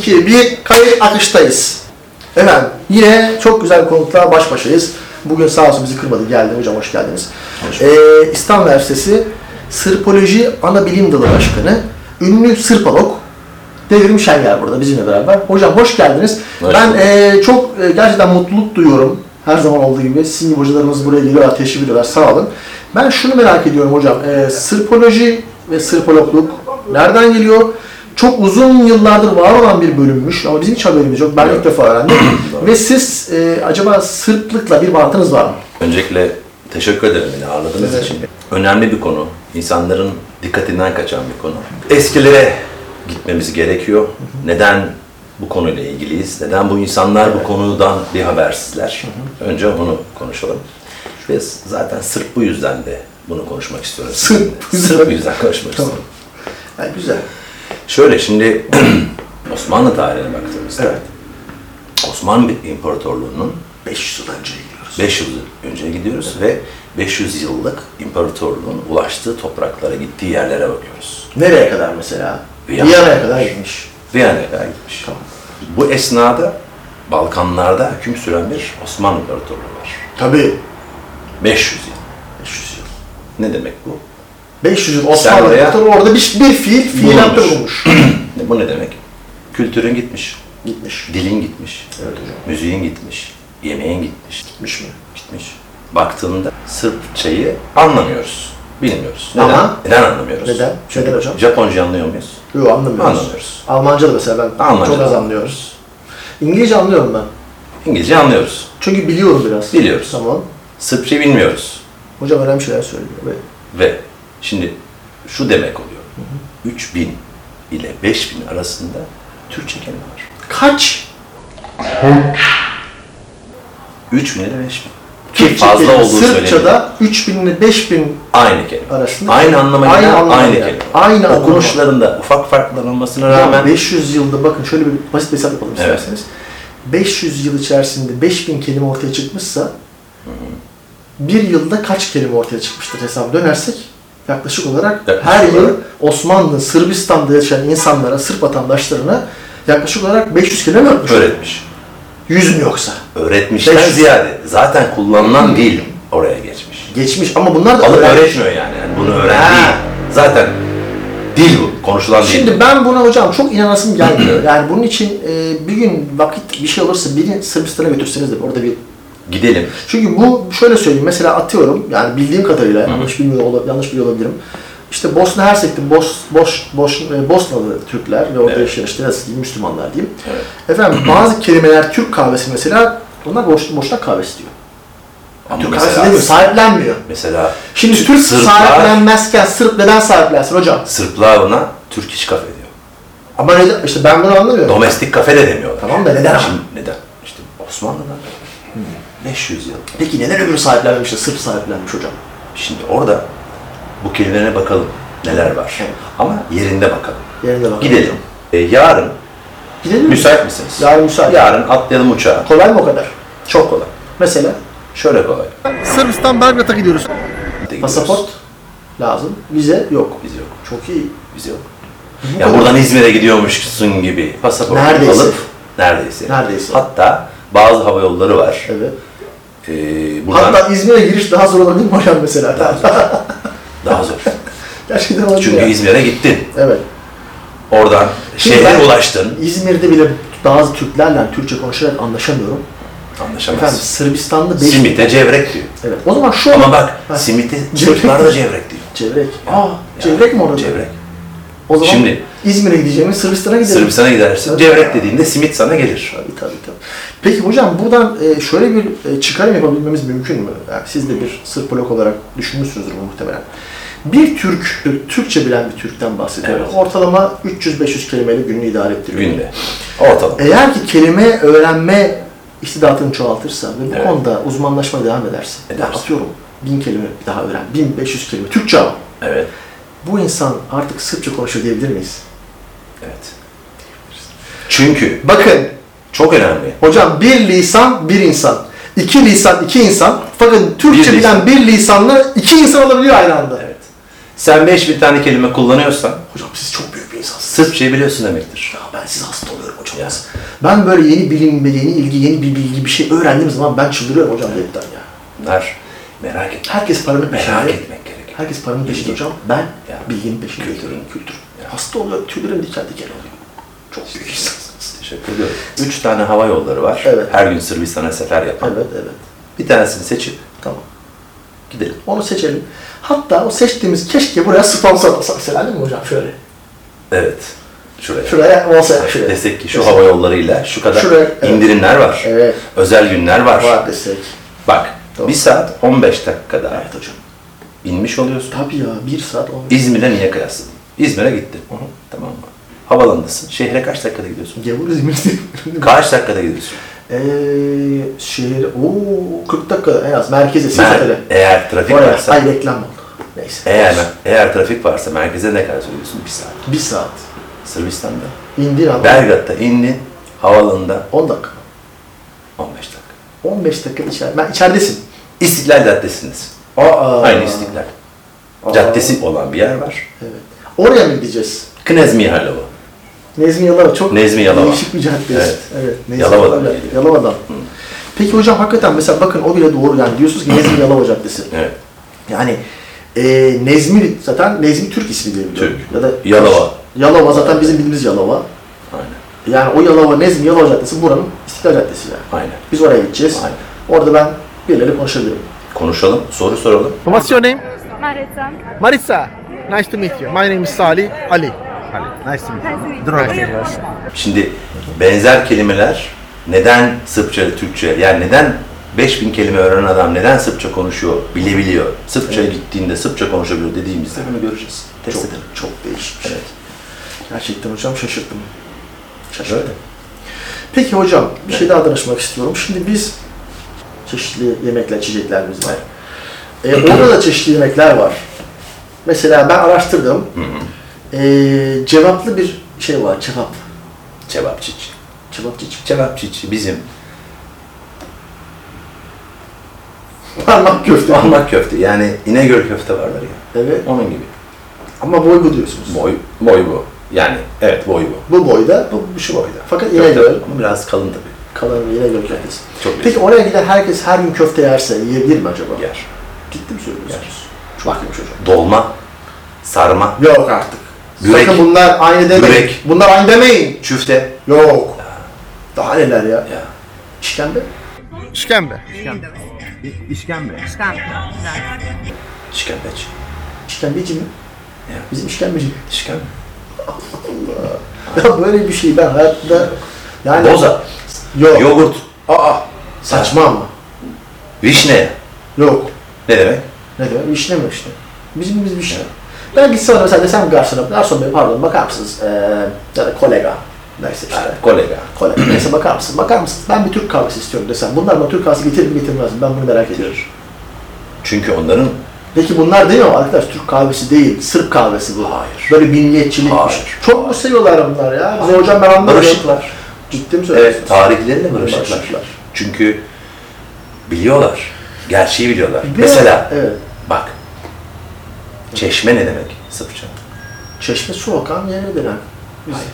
3, 2, 1, kayıt akıştayız. Hemen yine çok güzel konuklar baş başayız. Bugün sağ olsun bizi kırmadı. Geldi hocam hoş geldiniz. Ee, İstanbul Üniversitesi Sırpoloji Ana Bilim Dalı Başkanı, ünlü Sırpolog Devrim Şenger burada bizimle beraber. Hocam hoş geldiniz. Hoş ben bulduk. ee, çok ee, gerçekten mutluluk duyuyorum. Her zaman olduğu gibi sizin gibi hocalarımız buraya geliyorlar, teşvik ediyorlar. Sağ olun. Ben şunu merak ediyorum hocam. Ee, Sırpoloji ve Sırpologluk nereden geliyor? Çok uzun yıllardır var olan bir bölümmüş ama bizim hiç haberimiz yok. Ben ilk defa öğrendim. ve siz e, acaba Sırplıkla bir bağıntınız var mı? Öncelikle teşekkür ederim beni ağırladığınız Evet. için. Önemli bir konu. İnsanların dikkatinden kaçan bir konu. Eskilere gitmemiz gerekiyor. Neden bu konuyla ilgiliyiz? Neden bu insanlar bu konudan bir habersizler? Önce onu konuşalım. Ve s- zaten sırf bu yüzden de bunu konuşmak istiyorum. Sırf bu yüzden. Sırf bu yüzden konuşmak Tamam. istiyorum. Ha, güzel. Şöyle şimdi Osmanlı tarihine baktığımızda Evet. Osmanlı İmparatorluğu'nun 500 yıl önce gidiyoruz. 500 önce gidiyoruz ve 500 yıllık imparatorluğun ulaştığı topraklara, gittiği yerlere bakıyoruz. Nereye kadar mesela? Viyana. Viyana'ya kadar gitmiş. Viyana'ya kadar gitmiş. Tamam. Bu esnada Balkanlarda hüküm süren bir Osmanlı İmparatorluğu var. Tabii. 500 yıl. 500 yıl. Ne demek bu? 500 yıl Osmanlı oraya- İmparatoru orada bir, bir fiil fiilattır bulmuş. Ne- bu ne demek? Kültürün gitmiş, gitmiş. dilin gitmiş, Evet hocam. müziğin gitmiş, yemeğin gitmiş, Gitmiş mi? gitmiş. Baktığında Sırpçayı anlamıyoruz, bilmiyoruz. Neden? Ama- Neden anlamıyoruz? Neden? Neden hocam? Japonca anlıyor muyuz? Yok anlamıyoruz. Anlamıyoruz. Almanca da mesela ben Almanca çok az da. anlıyoruz. İngilizce anlıyorum ben. İngilizce anlıyoruz. Çünkü biliyorum biraz. Biliyoruz. Tamam. Sırpça bilmiyoruz. Hocam önemli şeyler söylüyor. Ve Ve şimdi şu demek oluyor. 3000 ile 5000 arasında Türkçe kelime var. kaç 3000 ile 5000. Ki Türkçe fazla kelime olduğu söyleniyor. Sırpçada 3000 ile 5000 Aynı kelime. arasında aynı anlama Aynı aynı gelen anlama aynı gelen. kelime. Aynı anlama. Okunuşlarında ufak farklar olmasına rağmen rağmen 500 yılda bakın şöyle bir basit bir hesap yapalım Evet. isterseniz. 500 yıl içerisinde 5000 kelime ortaya çıkmışsa bir yılda kaç kelime ortaya çıkmıştır hesap dönersek yaklaşık olarak Yaklaşık her yıl olarak. Osmanlı, Sırbistan'da yaşayan insanlara, Sırp vatandaşlarına yaklaşık olarak 500 kelime öğretmiş. öğretmiş. 100 mü yoksa? Öğretmişten 500. ziyade zaten kullanılan değil oraya geçmiş. Geçmiş ama bunlar da Alıp öğrenmiş. öğretmiyor yani. yani bunu Ha. öğren değil. Zaten dil bu. Konuşulan dil. Şimdi ben buna hocam çok inanasım gelmiyor. Yani bunun için e, bir gün vakit bir şey olursa beni Sırbistan'a götürseniz de orada bir Gidelim. Çünkü bu şöyle söyleyeyim mesela atıyorum yani bildiğim kadarıyla yanlış bilmiyor ola- yanlış biliyor olabilirim. İşte Bosna Hersek'te Bos, Bos, Bos, e, Bosnalı Türkler ve orada Evet. yaşayan işte nasıl diyeyim, Müslümanlar diyeyim. Evet. Efendim bazı kelimeler Türk kahvesi mesela onlar boş, boşuna kahvesi diyor. Ama Türk kahvesi mesela, demiyor, sahiplenmiyor. mesela Şimdi Türk Sırplar- sahiplenmezken Sırp neden sahiplensin hocam? Sırplar buna Türk iş kafe diyor. Ama neden? işte ben bunu anlamıyorum. Domestik kafe de demiyorlar. Tamam da neden Hmm. ama? Şimdi neden? İşte Osmanlı'dan 500 yıl. Peki neden öbürü sahiplenmemiş de Sırp sahiplenmiş hocam? Şimdi orada bu kelimelere bakalım neler var. Evet. Ama yerinde bakalım. Yerinde bak. Gidelim. E, yarın Gidelim mi? müsait misiniz? Yarın müsait. Yarın atlayalım uçağa. Kolay mı o kadar? Çok kolay. Mesela Şöyle kolay. Sırbistan Belgrad'a gidiyoruz. Gidiyoruz. Pasaport lazım. Vize yok. Biz yok. Çok iyi. Biz yok. Bu Ya kadar. buradan İzmir'e gidiyormuşsun gibi pasaport Neredeyse. alıp neredeyse. Neredeyse. Hatta bazı hava yolları var. Evet. Ee, buradan Hatta İzmir'e giriş daha zor olabilir mi hocam mesela? daha zor. Gerçekten olabilir. Çünkü ya. İzmir'e gittin. Evet. Oradan Şimdi şehre ben- ulaştın. İzmir'de bile bazı Türklerle Türkçe konuşarak anlaşamıyorum. Efendim Anlaşamazsın. Sırbistanlı 5 Simite cevrek diyor. Evet. O zaman şu Ama bak Ha. simiti Cevrek. Sırplar da cevrek diyor. Cevrek. Aa, Yani- Cevrek mi orada? Cevrek. O zaman Şimdi- İzmir'e gideceğimiz Sırbistan'a gidelim. Sırbistan'a gidersin. Evet. Cevrek dediğinde simit sana gelir. Tabii tabii tabii. Peki hocam buradan e, şöyle bir e, çıkarım yapabilmemiz mümkün mü? Yani siz de bir Sırp blok olarak düşünmüşsünüzdür bu muhtemelen. Bir Türk, e, Türkçe bilen bir Türk'ten bahsediyoruz. Evet. Ortalama 300-500 kelimeyle gününü idare ettiriyor. Günde. Ortalama. Eğer ki kelime öğrenme istidatını çoğaltırsa ve bu Evet. konuda uzmanlaşmaya devam ederse, ya Edersin. atıyorum bin kelime daha öğren, 1500 kelime Türkçe ama Evet. bu insan artık Sırpça konuşuyor diyebilir miyiz? Evet. Çünkü Bakın çok önemli. hocam bir lisan bir insan, iki lisan iki insan fakat Türkçe Bir bilen lisan. bir lisanla iki insan olabiliyor aynı anda. Evet. Sen 5000 tane kelime kullanıyorsan Hocam siz çok büyük bir insansınız. Sırpçayı biliyorsun demektir. Ya ben siz hasta oluyorum hocam. Ya. Ben böyle yeni bilim, yeni ilgi, yeni bir bilgi bir şey öğrendiğim zaman ben çıldırıyorum hocam devletten ya. Bunlar merak etme. Herkes paranın peşinde. Merak etmek gerek. Herkes paranın peşinde Bilgi. hocam. Ben Ya. bilginin peşinde. Kültürün. Kültür. Hasta oluyorum. Tüylerim diken diken oluyor. Çok büyük insansınız. Teşekkür ediyorum. Üç tane hava yolları var. Evet. Her gün Sırbistan'a sefer yapan. Evet evet. Bir tanesini seçip Tamam. gidelim. Onu seçelim. Hatta o seçtiğimiz keşke buraya sponsor olsak. Sen mi hocam? Şöyle. Evet. Şuraya. Şuraya olsa ya, şuraya. Desek ki şu Desek. hava yollarıyla şu kadar Şuraya, evet. indirimler var. Evet. Özel günler var. Var desek. Bak Doğru. bir saat 15 dakikada Evet hocam. inmiş oluyorsun. Tabii ya. Bir saat on. İzmir'e niye kıyasladın? İzmir'e gittin. Tamam mı? Havalandasın. Şehre kaç dakikada gidiyorsun? Gavur İzmir'de. Kaç dakikada gidiyorsun? Eee şehir, ooo 40 dakika en az merkeze, Sefere. eğer trafik Oraya, varsa, ay reklam oldu. Neyse. eğer eğer trafik varsa merkeze ne kadar söylüyorsun? Bir saat. Bir saat. Sırbistan'da. İndir ama. Belgrad'da indin, havaalanında 10 dakika. 15 dakika. 15 dakika içer. Ben içeridesin. İstiklal Caddesi'ndesin. Aa. Aynı İstiklal. Aa. Caddesi olan bir yer var. Evet. Oraya mı gideceğiz? Knez Mihailova. Nezmi Yalova çok Nezmi Yalova. değişik bir caddeyiz. Evet. Nezmi Yalova'dan Yalova- geliyor. Yalova'dan. Peki hocam hakikaten mesela bakın o bile doğru yani diyorsunuz ki Nezmi Yalova Caddesi. Evet. Yani e, Nezmi zaten Nezmi Türk ismi diye biliyorum. Türk. Ya da Yalova. Yalova zaten bizim bildiğimiz Yalova. Aynen. Yani o Yalova, Nezmi Yalova Caddesi buranın İstiklal Caddesi yani. Aynen. Biz oraya gideceğiz. Aynen. Orada ben birileriyle konuşabilirim. Konuşalım, soru soralım. What's your name? Marica. Maritza. Nice to meet you. My name is Salih Ali. Nice to meet you. Şimdi benzer kelimeler neden Sırpça ile Türkçe yani neden 5000 kelime öğrenen adam neden Sırpça konuşuyor bilebiliyor. Sırpça'ya gittiğinde Sırpça konuşabiliyor dediğimizde bunu göreceğiz. Test Çok, edelim. çok değişmiş. Evet. Gerçekten hocam şaşırdım. Şaşırdım. Peki hocam bir şey daha danışmak istiyorum. Şimdi biz çeşitli yemekler, içeceklerimiz var. Ee, orada da çeşitli yemekler var. Mesela ben araştırdım. Ee, cevaplı bir şey var. Cevap. Cevapçiç. Cevapçı Cevapçiç bizim Parmak köfte. parmak köfte yani İnegöl köfte varlar ya. Evet. Onun gibi. Ama boygu diyorsunuz. Boy, boy bu. Yani evet boy bu. Bu boyda, bu Bu şu boyda. Fakat Köfte İnegöl. ama biraz kalın tabii. kalan yine göl köftesi. Çok Peki lezzetli. oraya giden herkes her gün köfte yerse yiyebilir mi acaba? Yer. Ciddi mi söylüyorsunuz? Bakmış hocam. Dolma, sarma, Yok artık. Börek. Sakın bunlar aynı demeyin. Börek. Bunlar aynı demeyin. çüfte. Yok. Daha neler ya. Ya. İşkembe. İşkembe. Şikembeç. İşkembeci mi? Ya. Bizim işkembeci. Şikembe. Ya böyle bir şey ben hayatta... Yani... Boza. Yok. Yoğurt. Aa. Saçma ama. Vişne. Yok. Ne demek? Ne demek? Vişne mi işte? Bizim biz vişne. Ben gitsem ona mesela desem garsona, garson bey pardon bakar mısınız? Ee, ya da kolega. Neyse işte. Ha, kolega. Kolega. Neyse bakar mısınız? Bakar mısınız? Ben bir Türk kahvesi istiyorum desem. Bunlar bana Türk kahvesi getirir mi getirmez mi? Ben bunu merak ediyorum. Çünkü onların Peki bunlar değil mi arkadaş? Türk kahvesi değil. Sırp kahvesi bu. Hayır. Böyle milliyetçilik. Hayır. Çok mu seviyorlar bunlar ya? Bize hocam ben anlamıyorum. barışıklar. Ciddi mi söylüyorsunuz? Evet, tarihlerine Barışıklar. barışıklar. Çünkü biliyorlar. Gerçeği biliyorlar. Bir de- Mesela Evet. bak. Çeşme ne demek Sırpça? Çeşme su akan yere denen. Hayır.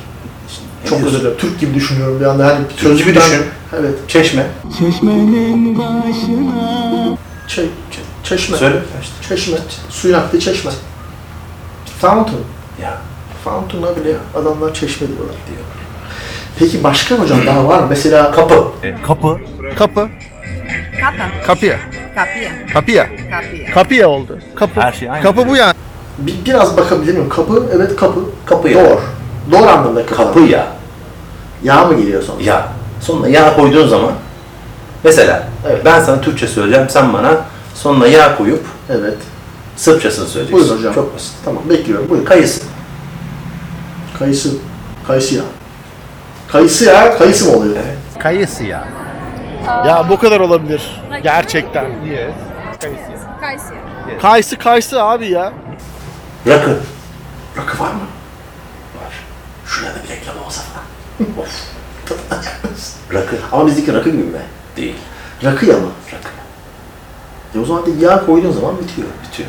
Ne Çok diyorsun? özür dilerim. Türk gibi düşünüyorum bir anda. Hani Türk gibi sözlükten- düşün. Evet. Çeşme. Çeşmenin başına Çe çeşme. Söyle. Çeşme. Suyun aktığı çeşme. Fountain. Ya Fountain'a bile adamlar çeşme diyorlar. diyor. Peki başka hocam daha var mı? Mesela E, Kapı. Kapı. Kapı. Kapa. Kapıya. Kapija. Kapıya. Kapija. Kapıya oldu. Kapı. Her şey aynı. Kapı bu yani. bi- biraz bakabilir miyim? Kapı, evet kapı. Kapı ya. Door. Door anlamında kapı. Kapı ya. Yağ mı geliyor sonra? Ya. Sonuna yağ koyduğun zaman mesela Evet. ben sana Türkçe söyleyeceğim sen bana sonuna yağ koyup Evet. Sırpçasını söyleyeceksin. Buyurun hocam. Çok basit. Tamam bekliyorum. Buyurun. Kayısı. Kayısı. Kayısı yağı. Kayısı yağı, kayısı mı oluyor? Kayısı ya. Ya bu kadar olabilir. Gerçekten. Kayseri. Kayısı kayısı abi ya. Rakı. Rakı var mı? Şurada bir reklam olsa falan. of. Rakı. Ama bizdeki rakı gibi be. Değil. Rakı ya mı? Rakı. E o zaman da yağ koyduğun zaman bitiyor. Bitiyor.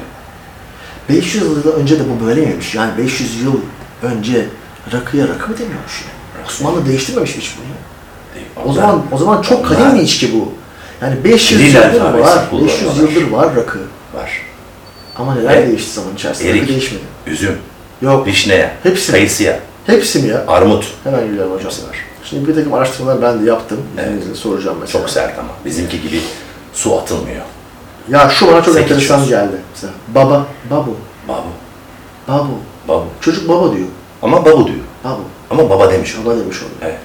500 yıl önce de bu böyleymiş. Yani 500 yıl önce rakıya rakı mı demiyormuş ya? Osmanlı değiştirmemiş hiç bunu ya. Değil. O zaman o zaman çok onlar- kadim bir içki bu. Yani 500 Dil yıldır alfabesi var, kullanıyorlar. 500 yıldır var rakı. var. Ama neler Evet. değişti zaman içerisinde? Rakı E, Erik. değişmedi. Üzüm. Yok. Vişneye. Hepsi. Kayısıya. Hepsi mi ya? Armut. Hemen geliyorum hocam. Hepsi var. Şimdi bir takım araştırmalar ben de yaptım. Evet. İzninizle soracağım mesela. Çok sert ama. Bizimki gibi su atılmıyor. Ya şu bana çok Sekiz enteresan yüz. geldi. Mesela baba, babu, Babu. babu. Babu. Çocuk baba diyor. Ama babu diyor. Babu. Ama baba demiş o. Baba demiş oluyor. Evet.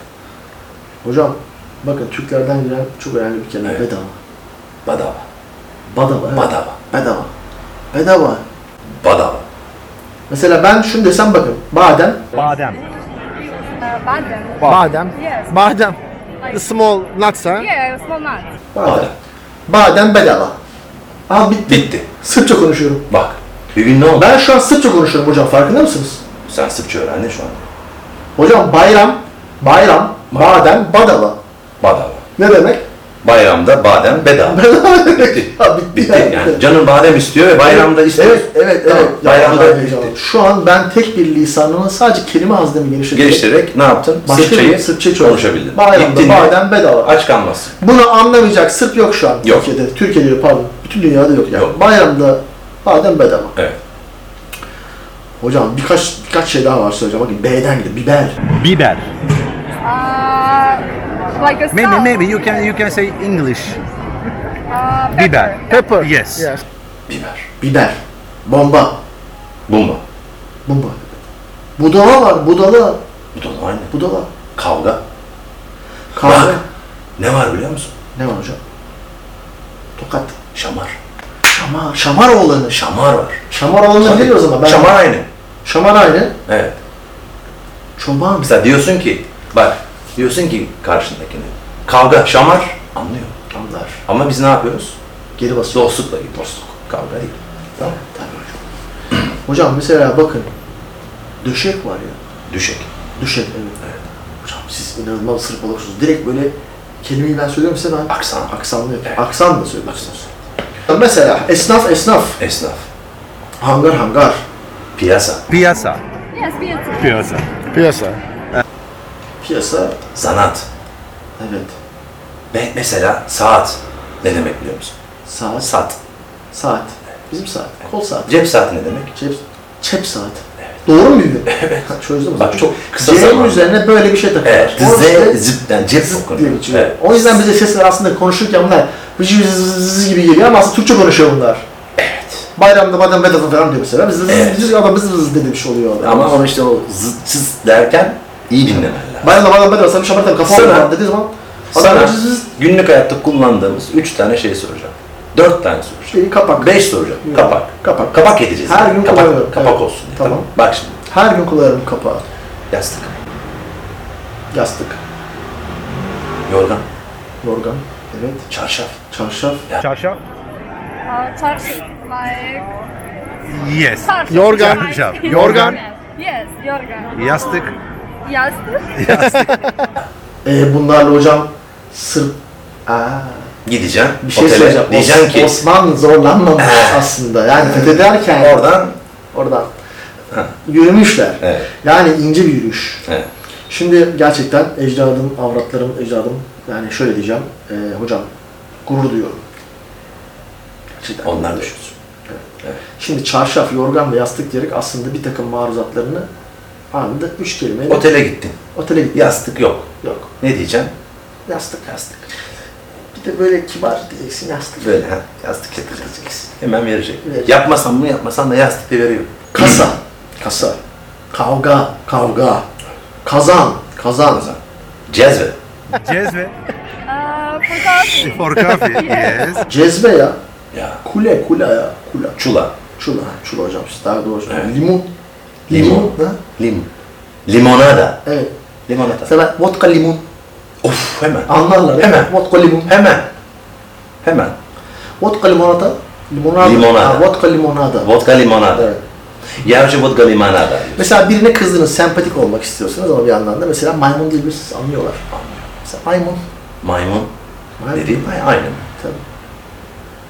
Hocam bakın Türklerden gelen çok önemli bir kelime. Evet. Bedava. Badava. Badava. evet. Badava. Bedava. Bedava. Badava. Mesela ben şunu desem bakın. Badem. Badem. Uh, Baden. Badem. Yes. Badem. The small nuts ha. Yeah, small nuts. Badem. Badem. Badem bedava. Aa bitti. Bitti. Sırpça konuşuyorum. Bak. Bir gün ne oldu? Ben şu an Sırpça konuşuyorum hocam farkında mısınız? Sen Sırpça öğrendin şu an. Hocam bayram, bayram, badem, badava. Badava. Ne demek? Bayramda badem bedava. Bedava demek. Ha, bitti, Bitti yani. Canın badem istiyor ve bayramda istiyor. Evet, evet, Tamam, evet. Bayramda Yapmadan bitti. heyecanlandım. Şu an ben tek bir lisanımı sadece kelime haznemi genişleterek Geliştirerek ne yaptın? başka Sırpçayı bir Sırpça çok- konuşabildin. Bayramda Gittin mi? badem bedava. Aç kalmazsın. Bunu anlamayacak Sırp yok şu an Yok. Türkiye'de. Türkiye'de yok pardon. Bütün dünyada yok yani. Yok. Bayramda badem bedava. Evet. Hocam birkaç birkaç şey daha var söyleyeceğim. Bakın B'den gidiyor. Biber. Biber. Uh, like a Maybe salt. maybe you can you can say English. Uh, pepper. Biber. Pepper. Yes. Yes. Biber. Biber. Bomba. Bomba. Bomba. Budala var. Budala. Bu da aynı. Budala. Kavga. Kahve. Bak. Ne var biliyor musun? Ne var hocam? Tokat. Şamar. Şamar. Şamar oğlanı. Şam- Şamar var. Şamar oğlanı bilir o zaman. Ben Şamar aynı. Şamar aynı. Evet. Çoban. Mesela diyorsun ki, bak diyorsun ki karşındakine. Kavga, şamar. Anlıyor. Anlar. Ama biz ne yapıyoruz? Geri basıyor. Dostlukla gidiyoruz. Dostluk. Kavga değil. Tamam. Tabii hocam. hocam mesela bakın. Döşek var ya. Düşek. Düşen evet. Hocam siz inanılmaz sırf olursunuz. Direkt böyle kelimeyi ben söylüyorum size ben Aksan. aksanlı Evet. aksan da söylüyorsunuz. Mesela esnaf esnaf, Esnaf. hangar hangar, Piyasa. Piyasa. Yes, beautiful. Piyasa. Piyasa. piyasa, Zanaat. evet, Ve mesela saat. Ne demek biliyor musun? saat, saat, Saat. bizim saat, kol saat, Cep saati ne demek? cep, cep saat. Doğru mu bildim? Evet. Çözdüm o Bak zaman. çok kısa C'nin zamanda. üzerine böyle bir şey Evet. takıyorlar. O Z, işte zipten cep zıp diye okunuyor. geçiyor. Evet. O yüzden bize sesler aslında konuşurken bunlar vıcı vıcı vıcı vıcı gibi geliyor ama aslında Türkçe konuşuyor bunlar. Evet. Bayramda badem bedava falan diyor mesela. Biz Evet. biz adam biz biz de demiş oluyor adam. Ama onu işte o zıt çıs derken iyi dinlemen lazım. Bayramda badem bedava sana şamartan şey kafa Sana- olmadan dediği zaman adam Sana biz biz günlük hayatta kullandığımız üç tane şey soracağım. Dört tane soracağım. beni kapak. Beş soracağım. Yok. Kapak. Kapak. Kapak edeceğiz. Her yani. gün kullanıyorum. Kapak, kapak Evet. olsun. diye, Tamam. Tamam. Bak şimdi Her gün kullanırım kapağı. yastık, Yastık, yorgan, yorgan, evet, çarşaf, çarşaf, Çarşaf. Uh, tarsi. Like Yes. tarsi. Yorgan. Like- Yorgan. Yes, yorgan. Yastık. Yastık. ee, bunlarla hocam sırf Aa, gideceğim bir şey otele söyleyeceğim. Os- diyeceğim ki Osmanlı zorlanmamış aslında. Yani fethederken oradan oradan yürümüşler. Evet. Yani ince bir yürüyüş. evet. Şimdi gerçekten ecdadım, avratlarım, ecdadım yani şöyle diyeceğim. eee, hocam gurur duyuyorum. Gerçekten. onlar düşünsün. Şimdi çarşaf, yorgan ve yastık diyerek aslında bir takım maruzatlarını anında üç kelimeyle Otele gittin. otele gittim. Yastık yok. Yok. Ne diyeceğim? Yastık. Yastık. Bir de böyle kibar diyeceksin yastık. Böyle ha. Yastık getireceksin. Hemen verecek. Verecek. Yapmasan mı yapmasan da yastık da veriyor. Kasa. Kasa. Kavga. Kavga. Kazan. Kazan. Kazan. Cezve. Cezve. Uh, for coffee. For coffee. Yes. Cezbe ya. Ya. Kule. Kule ya. Kule. Çula. Çula. Çula hocam. siz Daha doğrusu. Evet. Limon. Limon. ha? Lim. Limonada. Evet. Limonata. Mesela vodka limon. Of hemen. Anlarlar. Hemen. Vodka limon. Hemen. Hemen. Vodka limonata. Limonada. Limonada. Ha, vodka limonada. Vodka limonada. Evet. Я же vodka limonada. Mesela birine kızdınız, sempatik olmak istiyorsunuz ama bir yandan da mesela maymun değil misiniz? Anlıyorlar. Mesela maymun. Maymun maymun. dediğim ay- aynı. Tabii.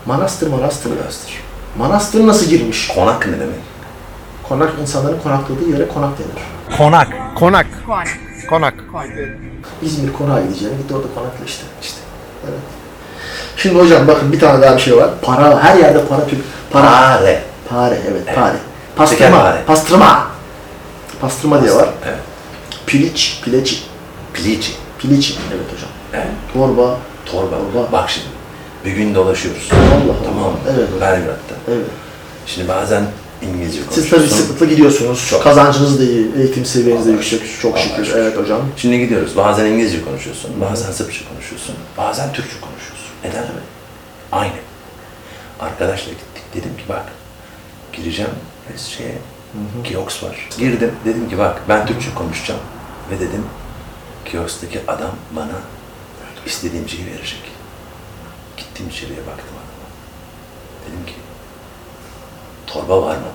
Manastır, manastır. Manastır nasıl girmiş? Konak ne demek? Konak insanların konakladığı yere konak denir. Konak. Konak. Konak. İzmir konağa gideceğine git orada konakla işte. işte. Evet. Şimdi hocam bakın bir tane daha bir şey var. Para, her yerde para Türk. Para. Pare. Pare, evet pare. Şeker Pastırma, pare. pastırma. Pastırma diye var. Evet. Piliç, pileci. Pilici. Piliç, evet hocam. Evet. Torba, Torba. Torba. Bak şimdi. Bir gün dolaşıyoruz. Allah Tamam mı? Allah. Evet. Belgrad'da. evet. Şimdi bazen İngilizce Siz tabii konuşuyorsun. sıkıntılı gidiyorsunuz. Çok. Kazancınız da iyi, eğitim seviyeniz de yüksek. Çok Vallahi şükür. çok Evet hocam. Şimdi gidiyoruz. Bazen İngilizce konuşuyorsun, bazen Sırpça konuşuyorsun, bazen Türkçe konuşuyorsun. Neden? Aynı. Arkadaşla gittik. Dedim ki bak, gireceğim biz şeye, kiosk var. Girdim. Dedim ki bak, ben Türkçe konuşacağım. Ve dedim, kiosktaki adam bana istediğim şeyi verecek. Gittim içeriye baktım adama. Dedim ki, torba var mı?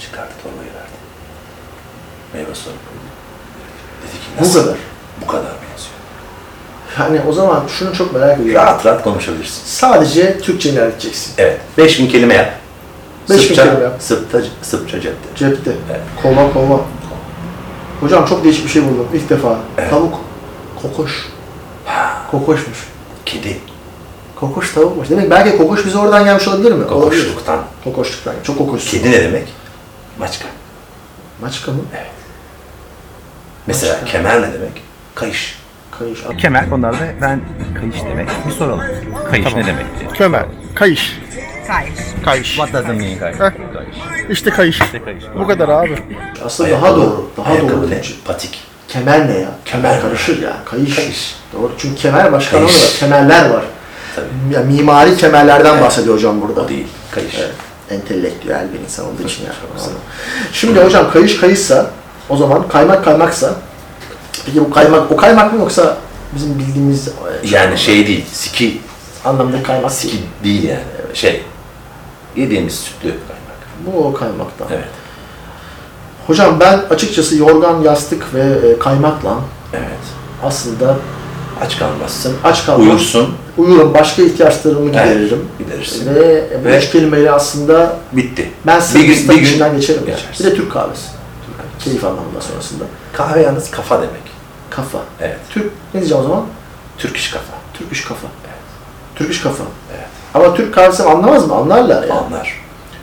Çıkardı torbayı verdi. Meyve suyu koydu. Dedi ki Bu nasıl? kadar. Bu kadar benziyor. Yani o zaman şunu çok merak ediyorum. Rahat rahat konuşabilirsin. Sadece Türkçe ilerleteceksin. Evet. 5000 kelime yap. 5000 Sırpça- kelime yap. Sırpça, Sırpça cepte. Cepte. Evet. Kova kova. Hocam çok değişik bir şey buldum ilk defa. Tavuk. Kokoş. Kokoşmuş. Kedi. Kokoş tavukmuş. Demek belki kokoş bize oradan gelmiş olabilir mi? Olabilir. Kokoşluktan. Kokoşluktan. Çok kokoş. Kedi ne demek? Maçka. Maçka mı? Mesela Maçka. kemer ne demek? Kayış. Kayış. Kemer. Onlar da ben kayış demek. Bir soralım. Kayış ne demek diye. Kömer. Kayış. Kayış. Kayış. What does it mean kayış? Heh. Kayış. İşte kayış. kayış. Bu kadar abi. Aslında daha Ayakkabı- doğru. şey. Daha ayakkabı doğru. ne? Patik. Kemer ne ya? Kemer Kemer. karışır ya. Kayış. Kayış. Doğru. Çünkü kemer başka Kayış. anlamı var. Kemerler var. Tabii. Ya, mimari kemerlerden bahsediyor hocam burada. O değil. Kayış. Evet. Entelektüel bir insan olduğu için yani. Şimdi hocam kayış kayışsa o zaman kaymak kaymaksa peki bu kaymak o kaymak mı yoksa bizim bildiğimiz e, Yani şey değil. Siki. anlamda kaymak Siki değil. değil yani. Şey. Yediğimiz sütlü kaymak. Bu o kaymaktan. Evet. Hocam ben açıkçası yorgan, yastık ve e, kaymakla Evet. aslında Aç kalmazsın. aç kalmam. Uyursun. Uyurum, başka ihtiyaçlarımı Evet, gideririm. Giderirsin. Ve e, bu Ve- üç kelimeyle aslında Bitti. ben bir gün, Sırbistan'ın bir gün içinden geçerim. yani. geçersin. Bir de Türk kahvesi. Keyif anlamında sonrasında. Kahve yalnız kafa demek. Kafa. Evet. Türk ne diyeceğim o zaman? Türk iş kafa. Türk iş kafa. Evet. Türk iş kafa. Evet. Ama Türk kahvesi anlamaz mı? Anlarlar yani. Anlar.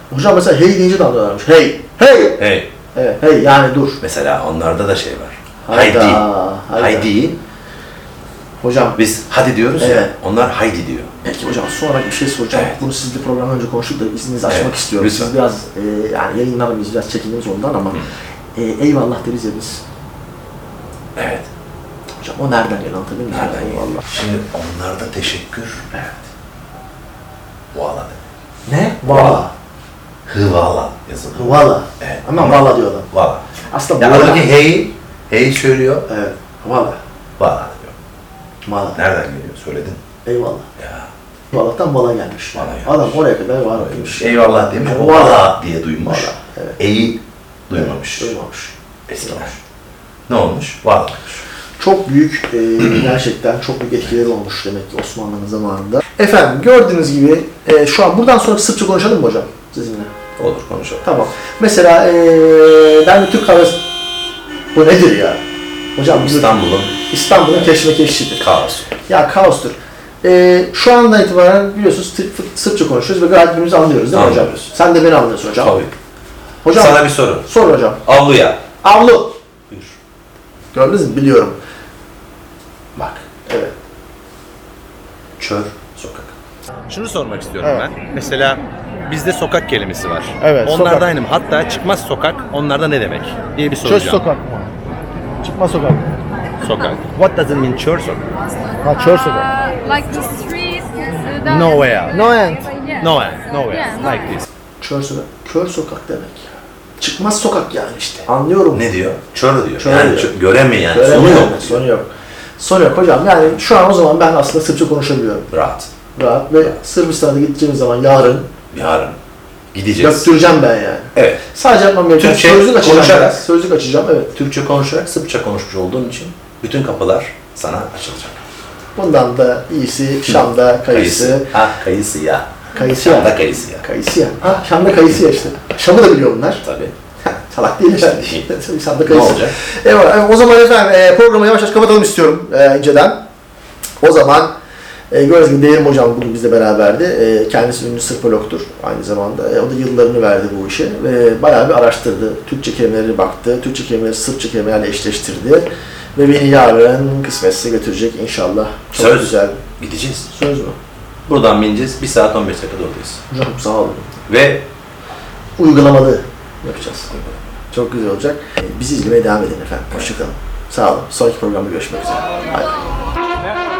Hocam mesela hey deyince de anlıyorlarmış. Hey! Hey! Hey. Evet, hey yani dur. Mesela onlarda da şey var. Haydi. Hayda, hayda. Haydi. Hocam Biz hadi diyoruz Evet. ya. Onlar haydi diyor. Peki hocam sonra bir şey soracağım. Evet. Bunu sizle programdan önce konuştuk da izninizi açmak Evet, istiyorum. Siz lütfen. biraz e, yani yayınlamayız, biraz çekindiniz ondan ama e, eyvallah deriz ya biz. Evet. Hocam o nereden geliyor anlatabilir miyim? Nereden geliyor? Eyvallah. Şimdi onlarda teşekkür. Evet. Vala demek. Ne? Vala. Hıvala yazılıyor. Vala. Evet. Ama vala diyorlar. Vala. Aslında Ya vala. oradaki hey, hey söylüyor. Evet. Vala. Vala diyor. Vala. Nereden geliyor? Söyledin. Eyvallah. Ya. Vala'dan vala gelmiş. Vala gelmiş. Adam oraya kadar vala demiş. şey. Eyvallah demiş. o Vala. Vala diye duymuş. Vala, evet. Eyi duymamış. Duymamış. Eskiden. Ne olmuş? Vala demiş. Çok büyük, e, gerçekten çok büyük etkileri olmuş demek ki Osmanlı'nın zamanında. Efendim gördüğünüz gibi e, şu an buradan sonra Sırpça konuşalım mı hocam sizinle? Olur konuşalım. Tamam. Mesela e, ben de Türk kahvesi... Bu nedir ya? Hocam bizim İstanbul'un İstanbul'un keşmekeşidir. kaosu. Ya kaostur. E, şu andan itibaren biliyorsunuz Tır- Fı- Sırpça konuşuyoruz ve gayet birbirimizi anlıyoruz değil mi hocam? Anlıyoruz. Sen de beni anlıyorsun hocam. Tabii. Hocam Sana bir soru. sor hocam. Avluya. Avlu. Buyur. Gördünüz mü? Biliyorum. Bak. Evet. Çöl sokak. Şunu sormak istiyorum Evet. ben. Mesela bizde sokak kelimesi var. Evet, Onlarda sokak. aynı mı? Hatta çıkmaz sokak onlarda ne demek diye bir soracağım. Çöz sokak mı? Çıkma sokak. Sokak. What does it mean çöl sokak? Ha çöz sokak. Uh, like the streets. uh, the- Nowhere. Nowhere. Yeah. Nowhere. Nowhere. Yeah, Like this. Çöl sokak. Kör sokak demek ya. Çıkmaz sokak yani işte. Anlıyorum. Ne diyor? Çöl diyor. Çöl yani diyor. çö- göremeyen, Böyle sonu mi? yok. Sonu yok. Sorun yok hocam. Yani şu an o zaman ben aslında Sırpça konuşabiliyorum. Rahat. Rahat ve Sırbistan'a gideceğimiz zaman yarın Yarın gideceğiz. döktüreceğim ben yani. Evet. Sadece yapmam gereken Türkçe sözlük açacağım. konuşarak. biraz. Sözlük açacağım evet. Türkçe konuşarak Sırpça konuşmuş olduğun için bütün kapılar sana açılacak. Bundan da iyisi Şam'da kayısı. Ha kayısı ya. Kayısı Şam'da ya. kayısı ya. Kayısı ya. Ha Şam'da kayısı ya işte. Şam'ı da biliyor bunlar. Tabii. Salak değil işte. Değil. Şam'da kayısı. Ne olacak? Eyvallah. O zaman efendim e, programı yavaş yavaş kapatalım istiyorum e, inceden. O zaman e, gördüğünüz gibi Devrim Hocam bugün bizle beraberdi. E, kendisi ünlü Sırpolog'tur aynı zamanda. E, o da yıllarını verdi bu işe. ve bayağı bir araştırdı. Türkçe kelimeleri baktı. Türkçe kelimeleri Sırpça kelimelerle eşleştirdi. Ve beni yarın kısmetse götürecek inşallah. Çok Söz. güzel. Gideceğiz. Söz mü? Buradan bineceğiz. 1 saat 15 dakikada oradayız. Hocam sağ olun. Ve Uygulamalı yapacağız. Çok güzel olacak. E, bizi izlemeye devam edin efendim. Hoşçakalın. Sağ olun. Sonraki programda görüşmek üzere. Haydi. Now,